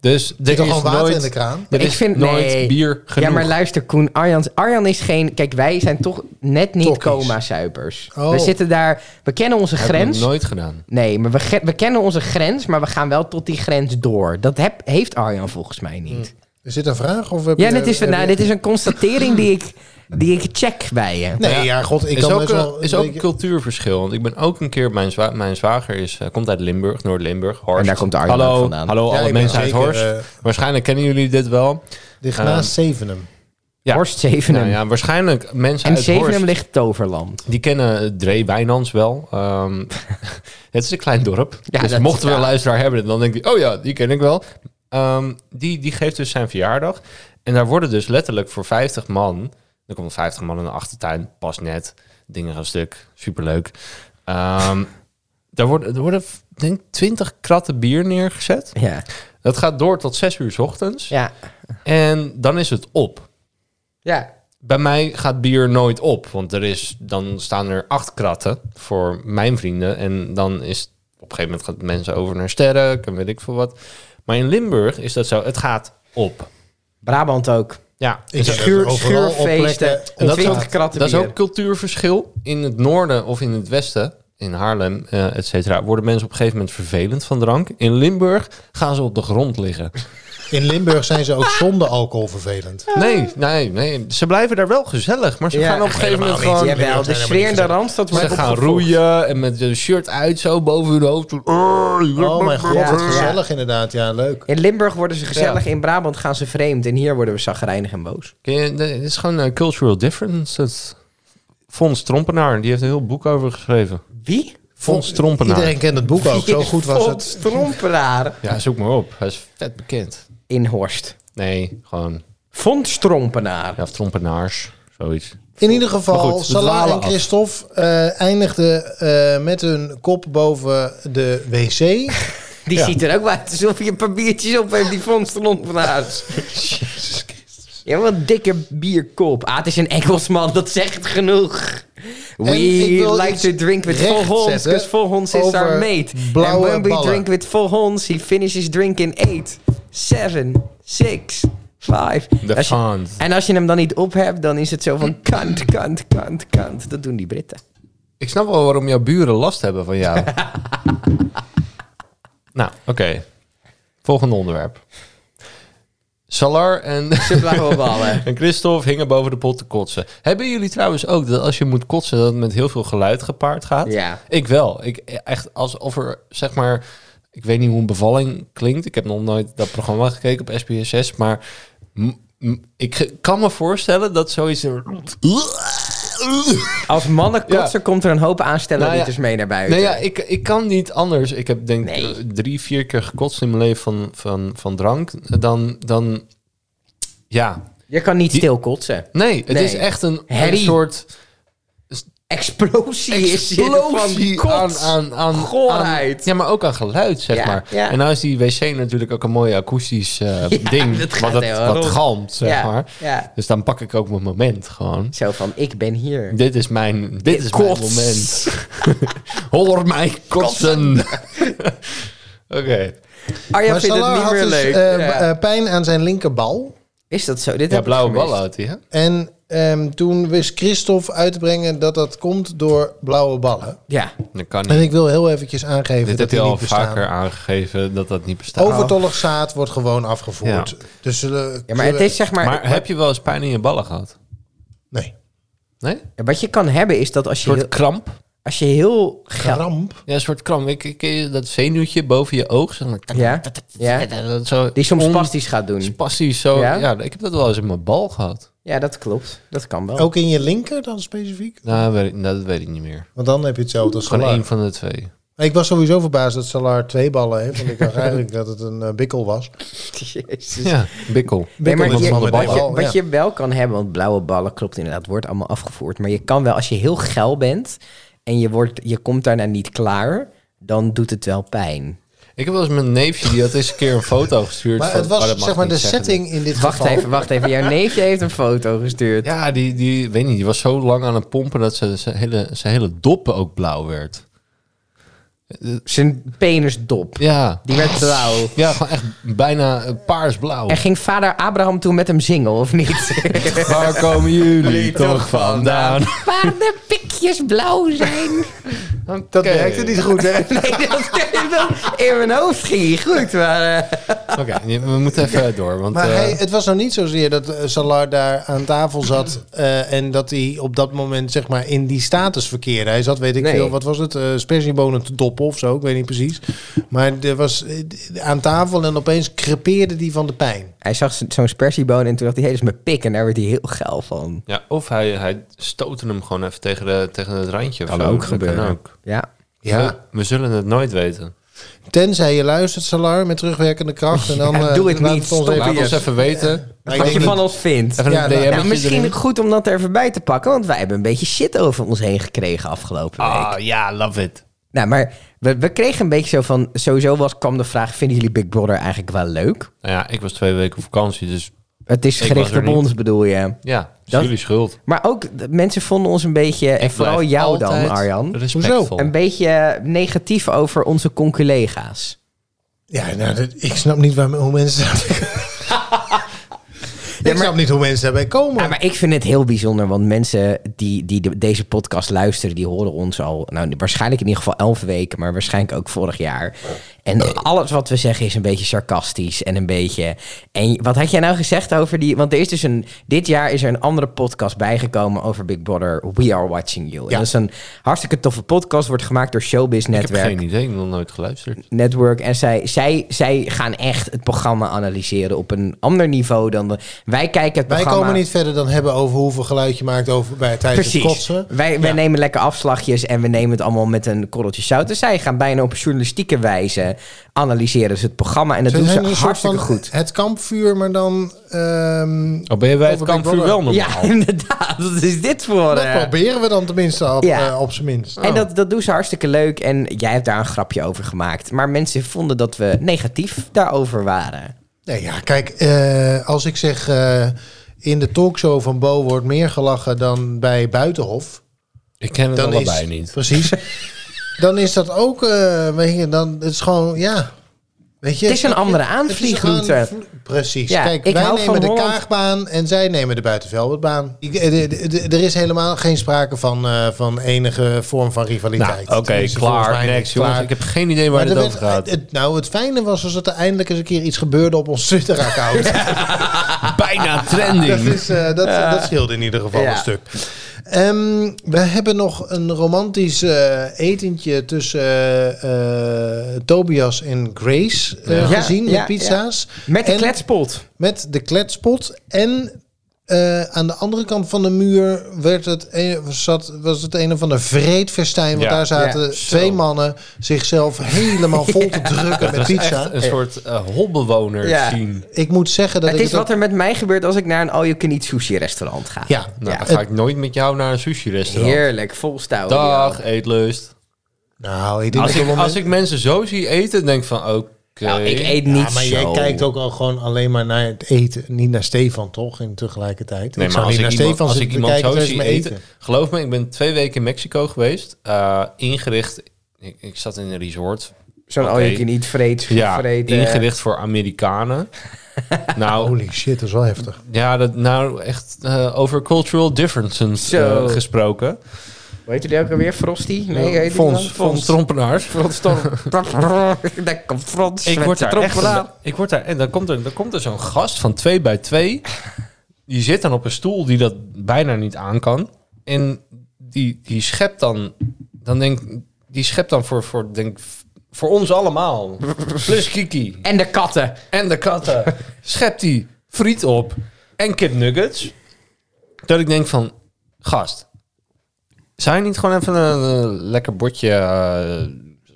Dus er is
Er is toch gewoon water
nooit,
in de kraan?
Er
Ik
is
vind-
nooit
nee.
bier genoeg.
ja, maar luister Koen, Arjan, Arjan is geen... Kijk, wij zijn toch net niet
Tokkies.
coma-zuipers.
Oh.
We zitten daar... We kennen onze
Heb ik nog
grens.
nooit gedaan.
Nee, maar we, ge- we kennen onze grens, maar we gaan wel tot die grens door. Dat heb, heeft Arjan volgens mij niet.
Hmm.
Is dit een vraag? Of heb
Ja,
je-
dit is,
heb
nou,
je-
dit is een constatering die ik, die ik check bij je.
Nee, ja, god, ik
is
kan
ook,
best wel...
een, is ook
ik-
een cultuurverschil. Want ik ben ook een keer... Mijn, zwa- mijn zwager is, eh, komt uit Limburg, Noord-Limburg. Horst.
En daar komt Arjan ook
hallo,
vandaan.
Hallo,
Ja,
alle
ik ben
mensen uit
zeker,
Horst.
eh,
Waarschijnlijk kennen jullie dit wel.
Ligt
Ehm,
naast Zevenum.
Ja.
Horst Zevenum.
Nou ja, waarschijnlijk mensen
en
uit Horst...
Zevenum ligt Toverland.
Die kennen Dree Wijnands wel. Ehm, het is een klein dorp.
Ja,
dus
dat-
mochten we
ja.
een luisteraar hebben, dan denk ik, oh ja, die ken ik wel. Ehm, die, die geeft dus zijn verjaardag. En daar worden dus letterlijk voor 50 man. Er komen 50 man in de achtertuin, pas net. Dingen gaan stuk, superleuk. Ehm, daar worden, er worden denk ik 20 kratten bier neergezet.
Ja.
Dat gaat door tot 6 uur 's ochtends.
Ja.
En dan is het op
Ja.
bij mij gaat bier nooit op. Want er is, dan staan er acht kratten voor mijn vrienden. En dan is op een gegeven moment gaat mensen over naar sterk en weet ik veel wat. Maar in Limburg is dat zo. Het gaat op.
Brabant ook.
Ja,
Ik denk dat
Schuur,
overal op
schuurfeesten,
plekken-
En dat is
20
ook-
kratten
Dat is
bier.
ook cultuurverschil. In het noorden of in het westen, in Haarlem, eh et cetera, worden mensen op een gegeven moment vervelend van drank. In Limburg gaan ze op de grond liggen.
In Limburg zijn ze
Ah.
ook zonder alcohol vervelend.
Nee, nee, nee. Ze blijven daar wel gezellig, maar ze
Ja,
gaan op een gegeven moment
helemaal
gewoon...
niet.
Jawel, de
Zijn helemaal
sfeer in
niet
de
gezellig.
Randstad
Ze
wordt
gaan
opgevoed.
roeien en met hun shirt uit zo boven hun hoofd.
Oh mijn god,
Ja.
wat gezellig inderdaad. Ja, leuk.
In Limburg worden ze gezellig,
Ja.
in Brabant gaan ze vreemd. En hier worden we zagrijnig en boos.
Ken je- nee, Het is gewoon eh, cultural difference. Dat- Fons Trompenaar, die heeft een heel boek over geschreven.
Wie?
Fons Trompenaar.
Iedereen kent het boek ook, zo goed was het.
Strompenaar.
Ja, zoek maar op. Hij is vet bekend.
In Horst.
Nee, gewoon
Vond Strompenaar.
Ja, of trompenaars, zoiets.
In ieder
Maar
geval,
goed, we
Salah
dwalen
en
af.
Christophe eh, eindigden eh, met hun kop boven de wc.
Die
Ja.
ziet er ook wel uit alsof je een paar biertjes op heeft, die Fons Strompenaar. Ja, wat een dikke bierkop. Ah, het is een Engelsman, dat zegt genoeg. We
ik wil
like
iets
to drink with
recht
full honds,
zetten
because full honds is
over
our mate.
blauwe
And when we
ballen.
drink with full honds, he finishes drink in 8, 7, 6, 5.
De fond.
En als je hem dan niet op hebt, dan is het zo van kant, kant, kant, kant. Dat doen die Britten.
Ik snap wel waarom jouw buren last hebben van jou. nou, oké. Volgende onderwerp. Salar en,
Ze blauwe ballen.
en Christophe hingen boven de pot te kotsen. Hebben jullie trouwens ook dat als je moet kotsen, dat het met heel veel geluid gepaard gaat?
Ja.
Ik wel. Ik echt alsof er, zeg maar, ik weet niet hoe een bevalling klinkt. Ik heb nog nooit dat programma gekeken op SBS6, maar m- m- ik ge- kan me voorstellen dat zoiets... er-
Als mannen kotsen, komt er een hoop aanstellerieters
Nou ja.
mee naar buiten.
Nee, ja, ik, ik kan niet anders. Ik heb denk ik
Nee.
drie, vier keer gekotst in mijn leven van, van, van drank. eh, Dan, dan, ja.
Je kan niet
Die-
stil kotsen.
Nee, het
Nee.
is echt een, een
Herrie.
soort
Explosie,
explosie
is van
aan,
kots.
aan, aan,
goorheid.
aan- Ja, maar ook aan geluid, zeg
Ja,
maar.
ja.
En nou is die wc natuurlijk ook een mooi akoestisch eh,
Ja,
ding.
dat
wat,
gaat heel
wat
rond.
galmt, zeg
ja,
maar.
ja.
Dus dan pak ik ook mijn moment gewoon.
Zo van, ik ben hier.
Dit is mijn, dit
Ik
is
kots.
mijn moment. Hoor mij kotsen. Oké.
Arjan
Maar
vindt het
Salah
niet
had
meer
dus
leuk.
eh,
Ja.
eh, pijn aan zijn linkerbal.
is dat zo? Dit
Ja,
heb ik
blauwe
gemist.
ballen had hij, hè?
En ehm, toen wist Christophe uit te brengen dat dat komt door blauwe ballen.
Ja.
Dat kan
En
niet.
ik wil heel eventjes aangeven
Dit
dat
heb je
die
al
niet bestaan.
vaker aangegeven dat dat niet bestaat.
Overtollig zaad wordt gewoon afgevoerd.
Ja.
Dus zullen,
ja, maar het is zeg maar...
Maar heb je wel eens pijn in je ballen gehad?
Nee,
Nee? Een
Wat je kan hebben is dat als je,
soort
heel,
kramp?
als je heel... geld-
ramp.
Ja, een soort kramp. Ik, ik, ken je dat zenuwtje boven je oog. Zeg maar,
Ja? ja.
Dat zo
Die soms
on-
spastisch gaat doen.
spastisch zo.
Ja?
Ja? ik heb dat wel eens in mijn bal gehad.
Ja, dat klopt. Dat kan
Oh.
wel.
Ook in je linker dan specifiek?
Nou, dat weet ik, nou, dat weet ik niet meer.
Want dan heb je hetzelfde als
Gewoon
Salah.
één van de twee.
Ik was sowieso verbaasd dat Salar twee ballen heeft. Want ik dacht eigenlijk dat het een eh, bikkel was.
Jezus.
Ja, bikkel.
Nee, maar
Bikkel
je- wat,
was van de
je,
bal,
wat
ja.
je wel kan hebben, want blauwe ballen klopt inderdaad, wordt allemaal afgevoerd. Maar je kan wel, als je heel geil bent en je, wordt, je komt daarna niet klaar, dan doet het wel pijn.
Ik heb wel eens mijn neefje, die had eens een keer een foto gestuurd.
Maar
van-
het
oh,
was
dat mag
zeg maar
niet
de
zeggen, dit.
setting in dit
dus. Wacht
geval.
even, wacht even. Jouw neefje heeft een foto gestuurd.
Ja, die, die, weet niet, die was zo lang aan het pompen dat ze- zijn hele, zijn hele dop ook blauw werd.
Zijn penisdop.
Ja, Oh.
Die werd blauw.
ja gewoon echt bijna eh, paarsblauw.
En ging vader Abraham toen met hem zingen, of niet?
Waar komen jullie
Niet toch
toch vandaan?
Waar de pikjes blauw zijn.
Dat
Oké.
werkte niet goed, hè?
Nee, dat, dat- in mijn hoofd ging hij goed. Maar, eh,
Oké, we moeten even door. Want,
Maar
eh,
hij, het was nou niet zozeer dat eh, Salar daar aan tafel zat eh, en dat hij op dat moment zeg maar in die status verkeerde. Hij zat, weet ik
Nee.
veel, wat was het? eh sperziebonen te doppen of zo, ik weet niet precies. Maar er was eh, aan tafel en opeens crepeerde die van de pijn.
hij zag z- zo'n spersieboon en toen dacht hij, hé, dat is mijn pik. En daar werd hij heel geil van.
ja, of hij, hij stootte hem gewoon even tegen, de, tegen het randje. of
Kan
zo.
ook
Dat
gebeuren.
kan ook. Nou,
Ja.
We, we zullen het nooit weten.
Tenzij je luistert, Salar, met terugwerkende kracht. En dan
Ja,
eh,
doe het
laat
niet,
ons
stop
even-
Laat
Yes.
ons even weten.
Maar ik
Wat
denk
je
niet-
van ons vindt.
Even
Ja,
een
nou,
DM'tje
Nou, misschien
erin.
goed om dat er even bij te pakken, want wij hebben een beetje shit over ons heen gekregen afgelopen week.
Ah, ja, love it.
Nou, maar we, we kregen een beetje zo van, sowieso was, kwam de vraag, vinden jullie Big Brother eigenlijk wel leuk?
Nou ja, ik was twee weken op vakantie, dus
Het is
Ik was
gericht
er
op
niet.
ons, bedoel je.
ja, het is
Dat-
jullie schuld.
Maar ook, de mensen vonden ons een beetje, en
Ik
vooral
blijf
jou dan,
altijd
Arjan,
Respectvol.
een beetje negatief over onze conculega's.
Ja, nou, dat- ik snap niet waar, hoe mensen daarbij Ik
maar-
snap niet hoe mensen daarbij komen.
Ja, maar ik vind het heel bijzonder, want mensen die, die de- deze podcast luisteren, die horen ons al, nou waarschijnlijk in ieder geval elf weken, maar waarschijnlijk ook vorig jaar. En alles wat we zeggen is een beetje sarcastisch en een beetje. En wat had jij nou gezegd over die? Want er is dus een, dit jaar is er een andere podcast bijgekomen over Big Brother, We Are Watching You. En
Ja.
dat is een hartstikke toffe podcast, wordt gemaakt door Showbiz
Ik heb
Netwerk.
geen idee, ik heb nog nooit geluisterd.
Network. En zij, zij, zij gaan echt het programma analyseren op een ander niveau dan de, wij kijken het
Wij
programma.
komen niet verder dan hebben over hoeveel geluid je maakt over, bij, tijdens het
Precies.
kotsen.
Wij, wij nemen lekker afslagjes en we nemen het allemaal met een korreltje zout. Dus zij gaan bijna op journalistieke wijze analyseren ze het programma. En dat
Ze
doen
zijn
ze
Dus een soort
hartstikke
van
goed.
het kampvuur, maar dan... ehm,
Oh, ben je bij het
Over Big
kampvuur
Brother.
wel normaal?
Ja, inderdaad. Wat is dit voor...
dat
eh?
proberen we dan tenminste op,
Ja.
eh, op zijn minst.
En dat, dat doen ze hartstikke leuk. En jij hebt daar een grapje over gemaakt. Maar mensen vonden dat we negatief daarover waren.
Nee, ja, kijk, eh, als ik zeg... eh, in de talkshow van Bo wordt meer gelachen dan bij Buitenhof...
Ik ken het
Dan is-
allebei niet.
Precies. dan is dat ook, eh, weet je, dan het is gewoon, ja. Weet je,
Het is een
snap je?
andere
Het is
aanvliegroute.
een aanvlie- Precies.
Ja,
Kijk,
ik
wij
hou van
nemen de
Holland.
Kaagbaan en zij nemen de Buitenveldbaan. Ik- eh, de- de- de- Er is helemaal geen sprake van, eh, van enige vorm van
Nou,
rivaliteit.
oké,
Tenminste, volgens
klaar.
mij niet.
Next, jongens.
Klaar.
Ik heb geen idee waar
Maar
dit
er
over
werd-
gaat.
het, nou, het fijne was als dat er eindelijk eens een keer iets gebeurde op ons Twitter-account.
Bijna
dat,
trending.
is, eh, dat, dat scheelde in ieder geval
Ja.
een stuk. Ehm, we hebben nog een romantisch eh, etentje tussen eh, eh, Tobias en Grace eh,
Ja,
gezien
ja,
met pizza's.
Met de
En-
kletspot.
Met de kletspot. En eh, aan de andere kant van de muur werd het een, zat, was het een of ander vreedfestijn. Want
Ja.
daar zaten
Ja,
twee mannen zichzelf helemaal vol te drukken met pizza.
Een soort eh, holbewoner
Ja.
zien.
Ik moet zeggen dat
Het
ik
is
het ook-
wat er met mij gebeurt als ik naar een all-you-can-eat sushi restaurant ga.
Ja,
Nou,
Ja.
dan ga ik nooit met jou naar een sushi-restaurant.
Heerlijk, Oh, vol stouw.
Dag, eetlust.
nou, ik denk
Als
dat
ik,
wel
als ik mensen zo zie eten, denk ik van oké.
Nou, ik eet niet
Ja, maar
zo.
jij kijkt ook al gewoon alleen maar naar het eten. Niet naar Stefan, toch? In tegelijkertijd.
Nee,
ik
maar
zou
als
niet
ik,
naar
iemand,
Stefan
als
zitten
ik iemand
kijken
zo
tijdens
zie
mijn
eten... Geloof me, ik ben twee weken in Mexico geweest. eh, ingericht... Ik, ik zat in een resort.
Zo'n
Oké.
all-you-can-eat eh, vreed,
Ja,
vreten.
ingericht voor Amerikanen. nou,
Holy shit, dat is wel heftig.
ja, dat, nou echt eh, over cultural differences
Zo.
eh, gesproken.
Hoe heet die ook alweer? Frosty? Nee, heet
Fons, Fons Trompenaars.
Frans Tom. Daar komt Frans.
Ik
met
word
zijn
daar echt...
trompenaar.
Ik word daar... En dan komt er, dan komt er zo'n gast van twee bij twee. Die zit dan op een stoel die dat bijna niet aan kan. En die, die schept dan... Dan denk Die schept dan voor, voor, denk, voor ons allemaal. Plus Kiki.
En de katten.
En de katten. Schept die friet op. En kipnuggets. Dat ik denk van... Gast. Zou je niet gewoon even een, eh, lekker bordje eh,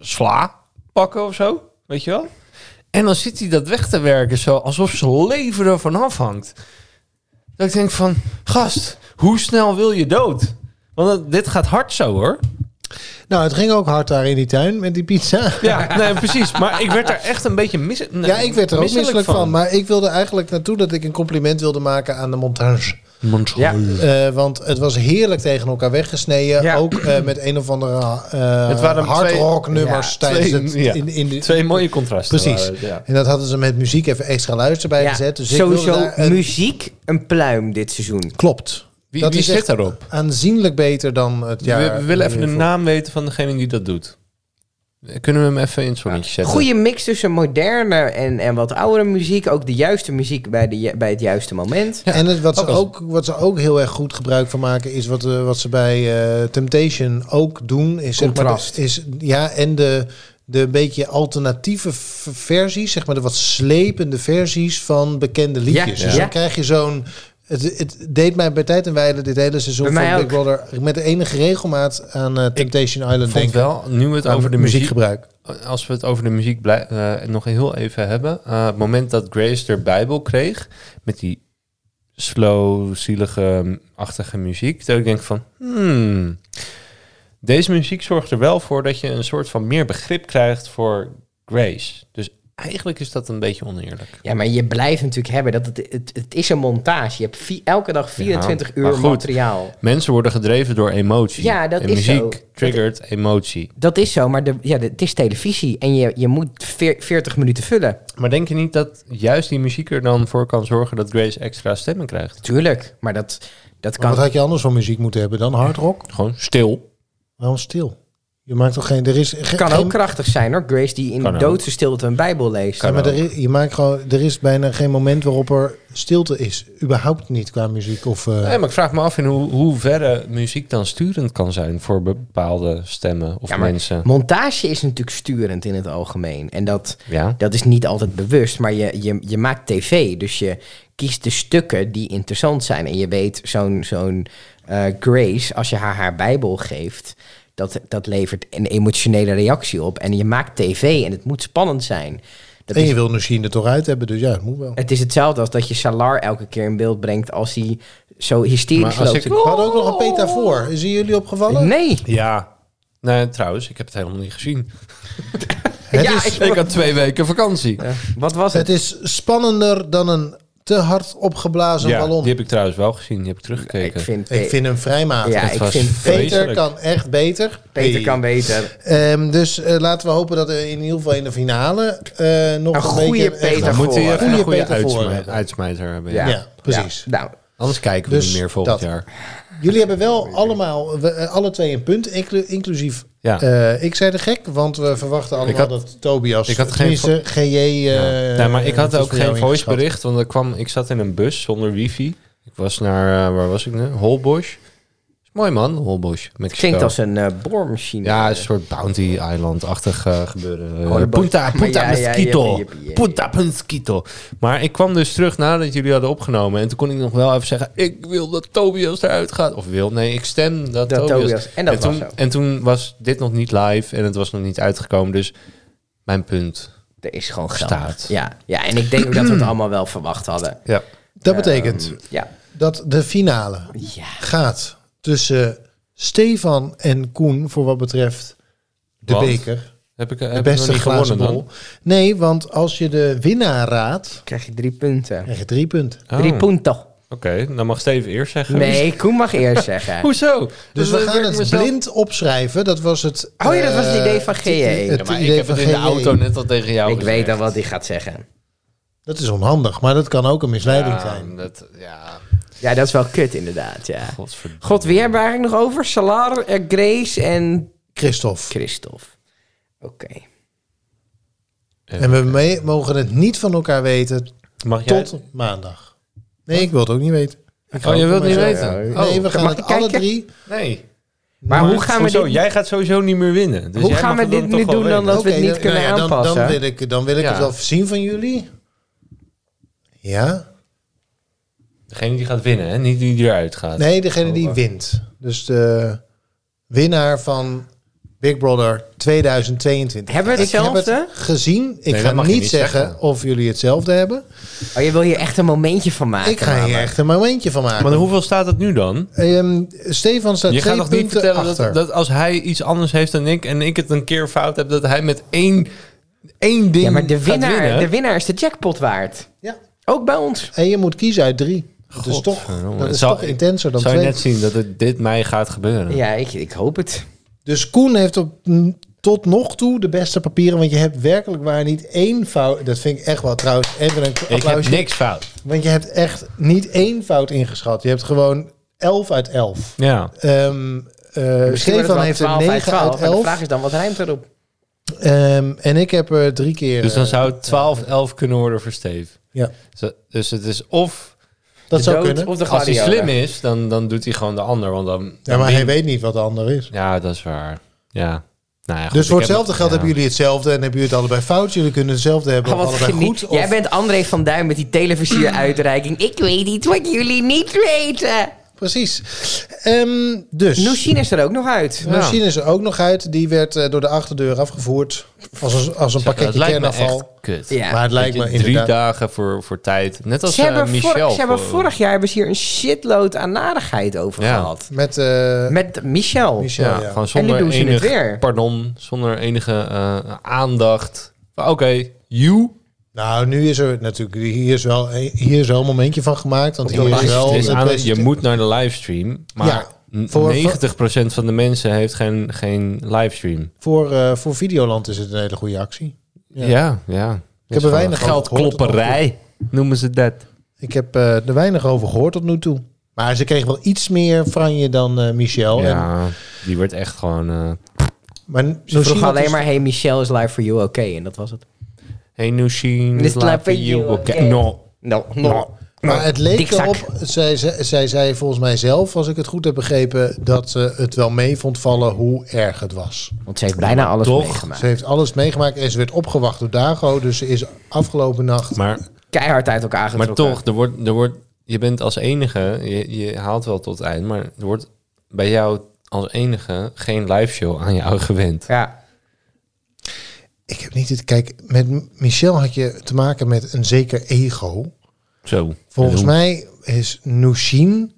sla pakken of zo? Weet je wel? En dan zit hij dat weg te werken, zo alsof zijn leven ervan afhangt. Dat ik denk van, gast, hoe snel wil je dood? Want dat- dit gaat hard zo hoor.
Nou, het ging ook hard daar in die tuin met die pizza.
Ja, nee, precies. Maar ik werd daar echt een beetje mis. nee,
ja, ik werd er ook misselijk van. Maar ik wilde eigenlijk naartoe dat ik een compliment wilde maken aan de montage.
Ja.
Eh, want het was heerlijk tegen elkaar weggesneden.
Ja.
Ook eh, met een of andere eh
Het waren
hard
twee-
rock nummers
ja,
tijdens
twee-
het...
ja.
In, in de,
Twee mooie contrasten.
Precies.
waren het, ja.
En dat hadden ze met muziek even extra luister bij
Ja,
gezet. Dus ik wilde
sowieso
daar een-
muziek een pluim dit seizoen.
Klopt.
Wie,
Dat
wie
is
zit
echt-
daarop?
aanzienlijk beter dan het jaar.
we, we willen even de
hiervoor.
naam weten van degene die dat doet. Kunnen we hem even in het zonnetje zetten?
Goede mix tussen moderne en, en wat oudere muziek. Ook de juiste muziek bij, de, ju- bij het juiste moment.
En het, wat, ze
Ook als-
ook, wat ze ook heel erg goed gebruik van maken is wat, eh, wat ze bij eh, Temptation ook doen. Is, zeg maar,
Contrast.
de- is, ja, en de, de beetje alternatieve v- versies, zeg maar de wat slepende versies van bekende liedjes.
Ja,
Dus
ja.
dan krijg je zo'n. Het, het deed mij bij tijd en wijle dit hele seizoen
Bij mij
van Big
ook.
Brother met enige regelmaat aan eh, Temptation Island
Ik vond
denken.
wel, nu we het
Aan
over de muziek...
muziekgebruik.
Als we het over de muziek blij- eh, nog heel even hebben. eh, het moment dat Grace de Bijbel kreeg... met die slow, zielige, achtige muziek... dat ik denk van... Hmm, deze muziek zorgt er wel voor dat je een soort van meer begrip krijgt voor Grace. Dus Eigenlijk is dat een beetje oneerlijk.
Ja, maar je blijft natuurlijk hebben dat het, het, het is een montage. Je hebt vi- elke dag 24
Ja, maar
uur
goed.
materiaal.
Mensen worden gedreven door emotie.
Ja, dat
en
is
muziek
zo.
triggert emotie.
Dat is zo, maar de, ja, de- het is televisie en je, je moet veer- 40 minuten vullen.
Maar denk je niet dat juist die muziek er dan voor kan zorgen dat Grace extra stemmen krijgt?
Tuurlijk, maar dat, dat
Maar
kan.
Wat had je anders voor muziek moeten hebben dan hard rock?
Gewoon stil.
Waarom stil? Je maakt toch geen... Er is ge-
kan
geen,
ook krachtig zijn hoor. Grace die in
Kan ook.
doodse stilte een Bijbel leest.
Ja, maar er is, je maakt gewoon, er is bijna geen moment waarop er stilte is. Überhaupt niet qua muziek of... eh,
Nee, maar ik vraag me af in hoe, hoe verre muziek dan sturend kan zijn voor bepaalde stemmen of
Ja, maar-
mensen.
Montage is natuurlijk sturend in het algemeen. En dat,
Ja.
dat is niet altijd bewust, maar je, je, je maakt tv. Dus je kiest de stukken die interessant zijn. En je weet, zo'n zo'n eh, Grace, als je haar haar Bijbel geeft, dat, dat levert een emotionele reactie op. En je maakt tv en het moet spannend zijn. Dat
en
is
je wil Nushin er toch uit hebben, dus ja, het moet wel.
Het is hetzelfde als dat je Salar elke keer in beeld brengt als hij zo hysterisch
Maar als
loopt.
ik-
We hadden ook nog een Peter voor. Is die jullie opgevallen?
Nee.
Ja. Nee, trouwens, ik heb het helemaal niet gezien. Dus
Het,
Ja,
is,
ik-
Ik had twee weken vakantie.
Wat was het?
het is spannender dan een te hard opgeblazen
Ja,
ballon.
die heb ik trouwens wel gezien. Die heb ik teruggekeken.
Ik vind,
Ik vind hem vrij matig.
ja,
het
ik
was
vind
Peter
vreselijk.
kan echt beter.
Peter
Hey.
kan beter.
Ehm, dus eh, laten we hopen dat er in ieder geval in de finale eh, nog
Een
een,
goede
beetje...
Peter
echt-
Dan moet hij even
Goeie
een goede
Peter voor
uitsmij-
hebben.
uitsmijter hebben.
Ja,
Ja.
Ja, precies.
Ja, nou,
Anders kijken we
Dus
niet meer volgend
dat.
jaar.
Jullie hebben wel allemaal, we, eh, alle twee een punt, inclu- inclusief
Ja.
eh, ik zei de gek, want we verwachten allemaal
had-
dat Tobias,
ik had geen
tenminste, GJ... eh,
nee, maar ik had
het is
ook
voor jou
geen voice
ingeschat.
bericht, want er kwam, ik zat in een bus zonder wifi. Ik was naar, eh, waar was ik nu? Holbosch. Is mooi man, Holbosch.
het
Mexico.
klinkt als een eh, boormachine.
Ja, een soort Bounty Island-achtig eh, gebeuren. Eh,
Holbosch.
Punta, Punta
Oh, Ja, ja, ja, ja,
Mosquito.
ja, ja.
Punta Mosquito. Maar ik kwam dus terug nadat jullie hadden opgenomen. En toen kon ik nog wel even zeggen, ik wil dat Tobias eruit gaat. Of wil, nee, ik stem dat,
Dat
Tobias.
Tobias. En dat
toen,
was zo.
En toen was dit nog niet live en het was nog niet uitgekomen. Dus mijn punt.
Er is gewoon
Staat.
geld. Ja. ja, en ik denk ook dat we het allemaal wel verwacht hadden.
Ja.
Dat betekent
Ehm, ja.
dat de finale
ja.
gaat tussen Stefan en Koen voor wat betreft de
Want?
beker.
Heb ik, eh,
De
heb ik nog
beste
niet
glazen
gewonnen
bol.
dan?
Nee, want als je de winnaar raadt,
krijg je drie punten.
krijg je drie punten.
Oh,
Drie
Oké,
punten.
dan mag Steven eerst zeggen.
Nee, Koen mag eerst zeggen.
Hoezo? Eh,
Dus
Dan
we gaan
werk
het
ik mezelf-
blind opschrijven. Dat was het.
Oh ja, dat was het
eh,
idee van GJ.
het
Ja, maar
idee
ik heb
van
het in de
GJ.
auto net al tegen jou
Ik weet
gezegd.
al wat hij gaat zeggen.
Dat is onhandig, maar dat kan ook een misleiding zijn.
Ja, dat, ja,
Ja, dat is wel kut inderdaad, ja.
godverdomme.
God, wie hebben we eigenlijk nog over? Salar, eh, Grace en
Christophe.
Christophe. Oké. eh,
En we me- mogen het niet van elkaar weten
Mag jij?
tot maandag. Nee, ik wil het ook niet weten. Ik ga
Oh,
ook
je
voor
wilt niet
mezelf-
weten?
ja.
Nee,
Oh,
we gaan
mag
het
ik
alle
kijken?
drie.
nee.
Maar, hoe gaan we
Hoezo?
dit,
Jij gaat sowieso niet meer winnen. Dus
Hoe
jij
gaan
mag
we
het dan
dit
toch
nu
wel
doen dan
weten.
dat we het
Oké,
niet
dan-
kunnen
nou ja, dan-
aanpassen?
Dan wil ik, dan wil ik
Ja.
het wel zien van jullie. Ja?
Degene die gaat winnen, hè? niet die die eruit gaat.
Nee, degene
Oh,
die wint. Dus de winnaar van Big Brother 2022.
Hebben we
Ik heb
hetzelfde?
het gezien. Ik
Nee,
ga
dat mag
niet,
je niet
zeggen,
zeggen.
of jullie hetzelfde hebben.
Oh, je wil hier echt een momentje van maken.
ik ga hier
mama.
echt een momentje van maken.
Maar hoeveel staat het nu dan?
Ehm, Stefan staat
Je
twee
gaat nog niet
punten
vertellen
achter.
dat, dat als hij iets anders heeft dan ik en ik het een keer fout heb, dat hij met één, één ding
Ja, maar de
gaat
winnaar,
winnen.
de winnaar is de jackpot waard.
Ja.
Ook bij ons.
En je moet kiezen uit drie. Dat is toch,
Godverdomme.
dat is
Zal-
toch intenser dan
Zou
twee.
je net zien dat het dit mij gaat gebeuren?
Ja, ik, ik hoop het.
Dus Koen heeft op, mm, tot nog toe de beste papieren. Want je hebt werkelijk waar niet één fout. Dat vind ik echt wel trouwens. Even een
Ik heb
applausje.
niks fout.
Want je hebt echt niet één fout ingeschat. Je hebt gewoon 11 uit 11.
Ja.
Ehm eh
Misschien wordt
Stefan
het
heeft
wel
er
12 uit
9 uit
12. En de
11.
vraag is dan, wat rijmt erop?
Ehm, en ik heb er drie keer.
Dus dan
eh,
zou het 12-11 kunnen worden voor Steve.
ja,
Zo- Dus het is of
dat
De
zou
dood
kunnen.
Of de
als hij
gladiolen?
slim is, dan, dan doet hij gewoon de ander. Want dan,
Ja,
dan
maar
win-
hij weet niet wat de ander is.
Ja, dat is waar. Ja. Nou ja, goed,
Dus
ik
voor
heb-
hetzelfde geld
ja.
hebben jullie hetzelfde en hebben jullie het allebei fout. Jullie kunnen hetzelfde hebben
Oh,
of
wat
allebei
geniet.
goed. Of,
Jij bent André van Duin met die televisier-uitreiking. Ik weet niet wat jullie niet weten.
Precies. Ehm, dus,
Nushin is er ook nog uit.
Ja.
Nushin is er ook nog uit. Die werd eh, door de achterdeur afgevoerd als een, als een
Zeg, dat
pakketje
lijkt me
kernafval.
echt kut.
Ja.
Maar het lijkt
Dat
me
je drie
inderdaad...
dagen voor, voor tijd. Net als
Ze
eh,
hebben,
Michel.
vorig, ze hebben
voor-
vorig jaar hebben ze hier een shitload aan narigheid over
Ja.
gehad.
Met eh,
Met Michel.
Michel,
Ja,
ja.
gewoon
En nu
zonder
doen ze het
enig,
weer.
pardon, zonder enige eh, aandacht. Maar Oké, You.
Nou, nu is er natuurlijk hier is wel, hier is wel een momentje van gemaakt. Want
Je,
hier is wel
is
de
aan- je
president-
moet naar de livestream. Maar
Ja,
n-
voor-
90% van de mensen heeft geen, geen livestream.
Voor, eh, voor Videoland is het een hele goede actie. Ja.
Ja, ja.
Ik heb er weinig over gehoord.
Geldklopperij noemen ze dat.
Ik heb eh, er weinig over gehoord tot nu toe. Maar ze kreeg wel iets meer van je dan eh, Michel. En,
Ja, die werd echt gewoon... eh,
maar
Ze vroeg
Nushin, dat
alleen
is-
maar, hey, Michelle is live for you, oké. En dat was het.
hey Nushin,
This
laat
life for
je
you,
oké.
okay.
No.
No,
Nou,
no.
Maar het leek
Dikzak.
erop, zij, zij, zij zei volgens mij zelf, als ik het goed heb begrepen, dat ze het wel mee vond vallen hoe erg het was.
Want ze heeft bijna alles
Toch?
meegemaakt.
Ze heeft alles meegemaakt en ze werd opgewacht door Dago. Dus ze is afgelopen nacht.
Maar,
Keihard uit elkaar
maar
getrokken.
toch, er wordt, er wordt, je bent als enige... Je, je haalt wel tot het eind, maar er wordt bij jou als enige geen liveshow aan jou gewend.
Ja.
Ik heb niet het. Kijk, met Michel had je te maken met een zeker ego.
Zo.
Volgens
Zo.
mij is Nushin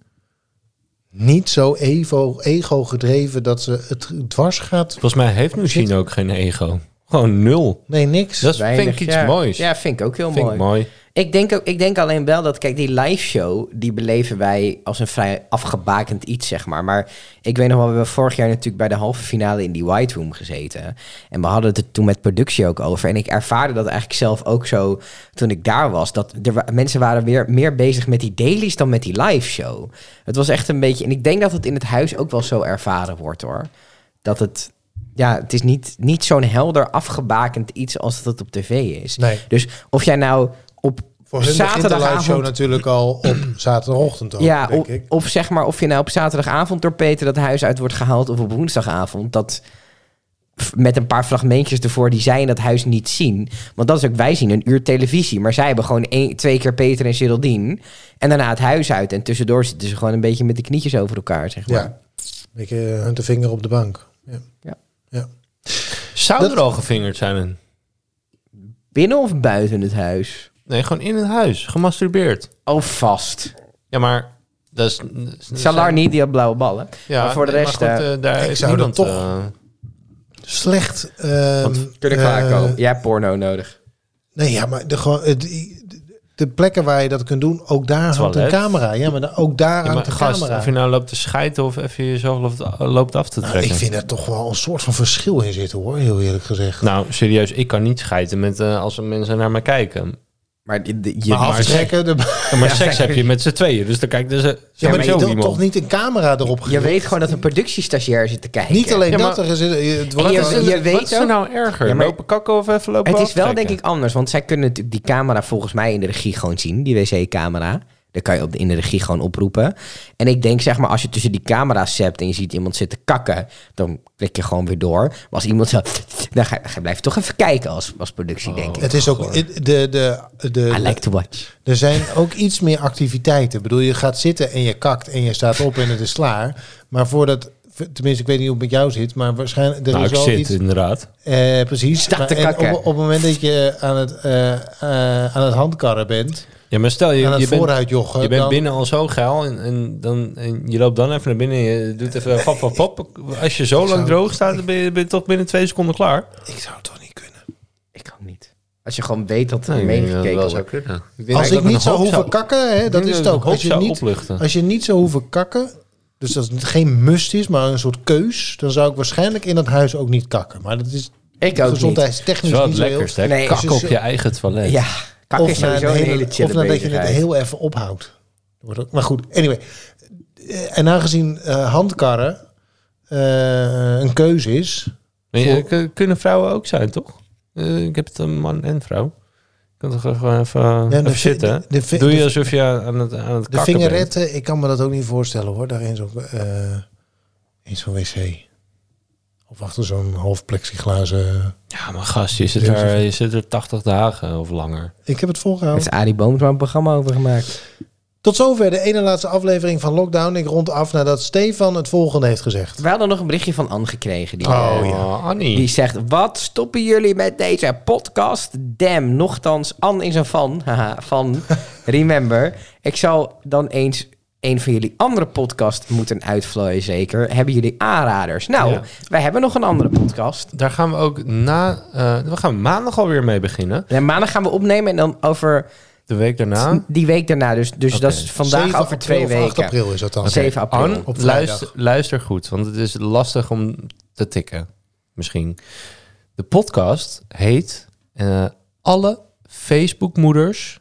niet zo evo- ego-gedreven dat ze het dwars gaat.
Volgens mij heeft Nushin ook geen ego. Gewoon nul.
Nee, niks.
Dat is-
weinig,
vind ik iets
ja.
moois.
Ja, vind ik ook heel
Vind
mooi.
ik mooi.
Ik denk, ook, ik denk alleen wel dat, kijk, die live show, die beleven wij als een vrij afgebakend iets, zeg maar. Maar ik weet nog wel, we hebben vorig jaar natuurlijk bij de halve finale in die White Room gezeten. En we hadden het er toen met productie ook over. En ik ervaarde dat eigenlijk zelf ook zo toen ik daar was. Dat er, wa- mensen waren weer meer bezig met die dailies dan met die live show. Het was echt een beetje, en ik denk dat het in het huis ook wel zo ervaren wordt hoor. Dat het, ja, het is niet, niet zo'n helder afgebakend iets als dat het op tv is.
Nee.
Dus of jij nou op
Voor hun begint de live show
zaterdagavond...
natuurlijk al op zaterdagochtend. Ook,
ja,
denk
of,
ik.
of zeg maar of je nou op zaterdagavond door Peter dat huis uit wordt gehaald... of op woensdagavond, dat f- met een paar fragmentjes ervoor die zij in dat huis niet zien. Want dat is ook, wij zien een uur televisie. Maar zij hebben gewoon één, twee keer Peter en Geraldine. En daarna het huis uit. En tussendoor zitten ze gewoon een beetje met de knietjes over elkaar, zeg maar.
Ja. Een beetje eh, hun de vinger op de bank. Ja.
Ja.
ja.
Zou
Dat-
er al gevingerd zijn?
Binnen of buiten het huis?
Nee, gewoon in het huis. Gemasturbeerd.
Oh, vast.
Ja, maar... Dat is, dat is-
Salar niet, die had blauwe
Eh,
ballen.
Ja,
maar voor de
nee,
rest...
goed,
eh,
eh, daar
ik
is
zou
niemand...
dat
Toch...
toch- Slecht. ehm,
kunnen
eh,
klaarkomen. Jij hebt porno nodig.
Nee, ja, maar de, gewoon- het- de, de plekken waar je dat kunt doen, ook daar hangt een
Toilet.
camera. Ja, maar da- ook daar
ja, maar
hangt een
gast,
camera.
of je nou loopt te scheiden of even jezelf loopt, eh, loopt af te
Nou,
trekken.
ik vind er toch wel een soort van verschil in zitten hoor, heel eerlijk gezegd.
Nou, serieus, ik kan niet scheiden met, eh, als er mensen naar me kijken.
Maar die- die- je,
maar aftrekken, de,
Ja, maar seks heb je met z'n tweeën, dus dan kijkt er ze
ja, maar
sowieso
je doet
iemand.
toch niet een camera erop
je
gericht?
weet gewoon dat een productiestagiair zit te kijken.
Niet alleen
Ja, maar-
dat, er is, het wordt
En je-
wel-
Wat is er-
weet
Wat is er
ook-
nou erger?
Ja, maar-
Lopen kakken of even lopen
Het is wel
aftrekken?
denk ik anders, want zij kunnen natuurlijk die camera volgens mij in de regie gewoon zien, die wc-camera. Daar kan je op de, in de regie gewoon oproepen. En ik denk zeg maar, als je tussen die camera's zapt en je ziet iemand zitten kakken, dan klik je gewoon weer door. Maar als iemand zo, dan ga, ga, blijf je toch even kijken als, als productie, denk ik.
Oh. het is ook... De, de, de,
I
de,
like to watch.
er zijn ook iets meer activiteiten. Ik bedoel, je gaat zitten en je kakt en je staat op en het is klaar. Maar voordat... Tenminste, ik weet niet hoe het met jou zit, maar waarschijnlijk... Er
Nou,
is
ik
wel
zit
iets,
inderdaad.
Eh, precies.
Staat te
en
kakken.
Op, op het moment dat je aan het, eh, eh, aan het handkarren bent,
Ja, maar stel, je,
aan
je
het
bent
vooruitjoggen...
Je bent
dan-
binnen al zo geil en, en, dan, en je loopt dan even naar binnen en je doet even pop, pop, pop. Als je zo lang droog staat, dan ben je, ben je toch binnen twee seconden klaar.
Ik zou het toch niet kunnen.
Ik ook niet. Als je gewoon weet dat er meegekeken wordt.
Als ik niet zou hoeven kakken, hè, dat is het ook.
Als
Als je, niet,
opluchten.
als je niet zou hoeven kakken, dus dat het geen must is, maar een soort keus, dan zou ik waarschijnlijk in dat huis ook niet kakken. Maar dat is
Ik ook niet.
Het is
gezondheidstechnisch
wel
niet
het
zo heel...
lekkerste, hè?
Nee,
Kak
dus-
op je eigen toilet.
Ja, kakken is
na
sowieso een hele chille
Of nadat je het
bezigheid.
heel even ophoudt. Dat wordt ook- Maar goed, anyway. Eh, En aangezien eh, handkarren eh, een keuze is...
Maar je- eh, k- kunnen vrouwen ook zijn, toch? Eh, ik heb het een man en vrouw. Ik kan toch gewoon even, even
de vi-
zitten.
de- de vi-
Doe
de-
je alsof je aan het, aan het kakken
De
bent.
vingerretten, ik kan me dat ook niet voorstellen hoor, daar in zo'n eh, in zo'n wc. Of achter zo'n half plexiglazen.
Ja, maar gast, je zit, er, je zit er 80 dagen of langer.
Ik heb het
Er
volgehouden.
is Arie Boomsma een programma over gemaakt.
Tot zover de ene laatste aflevering van Lockdown. Ik rond af nadat Stefan het volgende heeft gezegd.
We hadden nog een berichtje van Anne gekregen. Die,
Oh,
eh,
ja.
Annie.
Die zegt, wat stoppen jullie met deze podcast? Damn, nochtans, An is een fan haha, van Remember. Ik zal dan eens een van jullie andere podcast moeten uitvlooien zeker, hebben jullie aanraders. Nou,
Ja.
wij hebben nog een andere podcast.
Daar gaan we ook na... eh we gaan maandag alweer mee beginnen.
En maandag gaan we opnemen en dan over
De week daarna.
die week daarna. Dus, dus dat is vandaag
7
over twee
april of 8
weken.
april is dat dan.
7 april.
Arn,
Op vrijdag.
luister, luister goed, want het is lastig om te tikken. Misschien. De podcast heet eh, Alle Facebookmoeders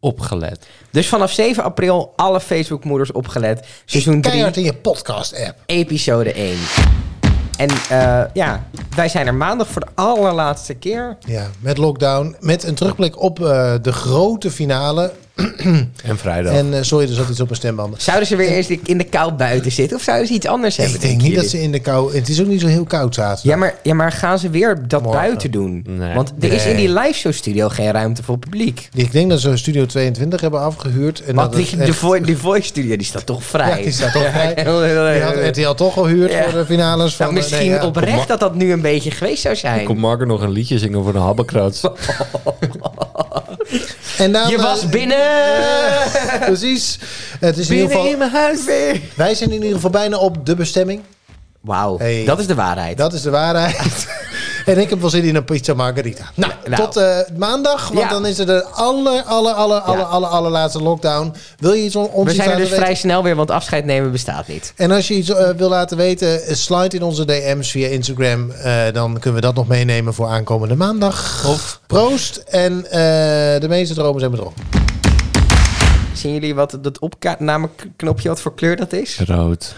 opgelet.
Dus vanaf 7 april alle Facebookmoeders opgelet. Seizoen 3,
Keihard in je podcast-app.
episode 1. En eh, ja, wij zijn er maandag voor de allerlaatste keer.
Ja, met lockdown. Met een terugblik op eh, de grote finale.
En vrijdag.
En eh, sorry, er zat iets op mijn stembanden.
Zouden ze weer eerst in de kou buiten zitten? Of zouden ze iets anders hebben?
Ik denk niet dat
jullie?
ze in de kou... Het is ook niet zo heel koud zaten.
Ja maar, ja, maar gaan ze weer dat
Morgen.
buiten doen?
Nee.
Want er is
Nee.
in die live show studio geen ruimte voor publiek.
Ik denk dat ze Studio 22 hebben afgehuurd. En
Want
dat
die,
het
de
echt-
Vo- die voice studio die staat toch vrij.
Ja, die staat toch vrij.
Heel- heel-
Die had
heel-
RTL toch gehuurd
Ja.
voor de finales.
Nou,
Van, eh,
misschien
nee, ja.
oprecht dat dat nu een beetje geweest zou zijn.
Komt Marco nog een liedje zingen voor de habbekrats?
En daarna-
Je was binnen!
Precies. Het is in ieder geval,
mijn huis weer!
wij zijn in ieder geval bijna op de bestemming.
Wauw,
Hey.
dat is de waarheid.
Dat is de waarheid. en ik heb wel zin in een pizza margarita. Nou,
Nou.
tot eh, maandag. Want
Ja.
dan is er de aller, aller, aller, aller, aller, allerlaatste lockdown. Wil je iets om ons
We
iets
zijn er
laten
dus
weten?
vrij snel weer, want afscheid nemen bestaat niet.
En als je iets eh, wil laten weten, eh, slide in onze DM's via Instagram. Eh, dan kunnen we dat nog meenemen voor aankomende maandag. Of proost. En eh, de meeste dromen zijn bedrogen.
Zien jullie wat dat opnameknopje, wat voor kleur dat is?
Rood.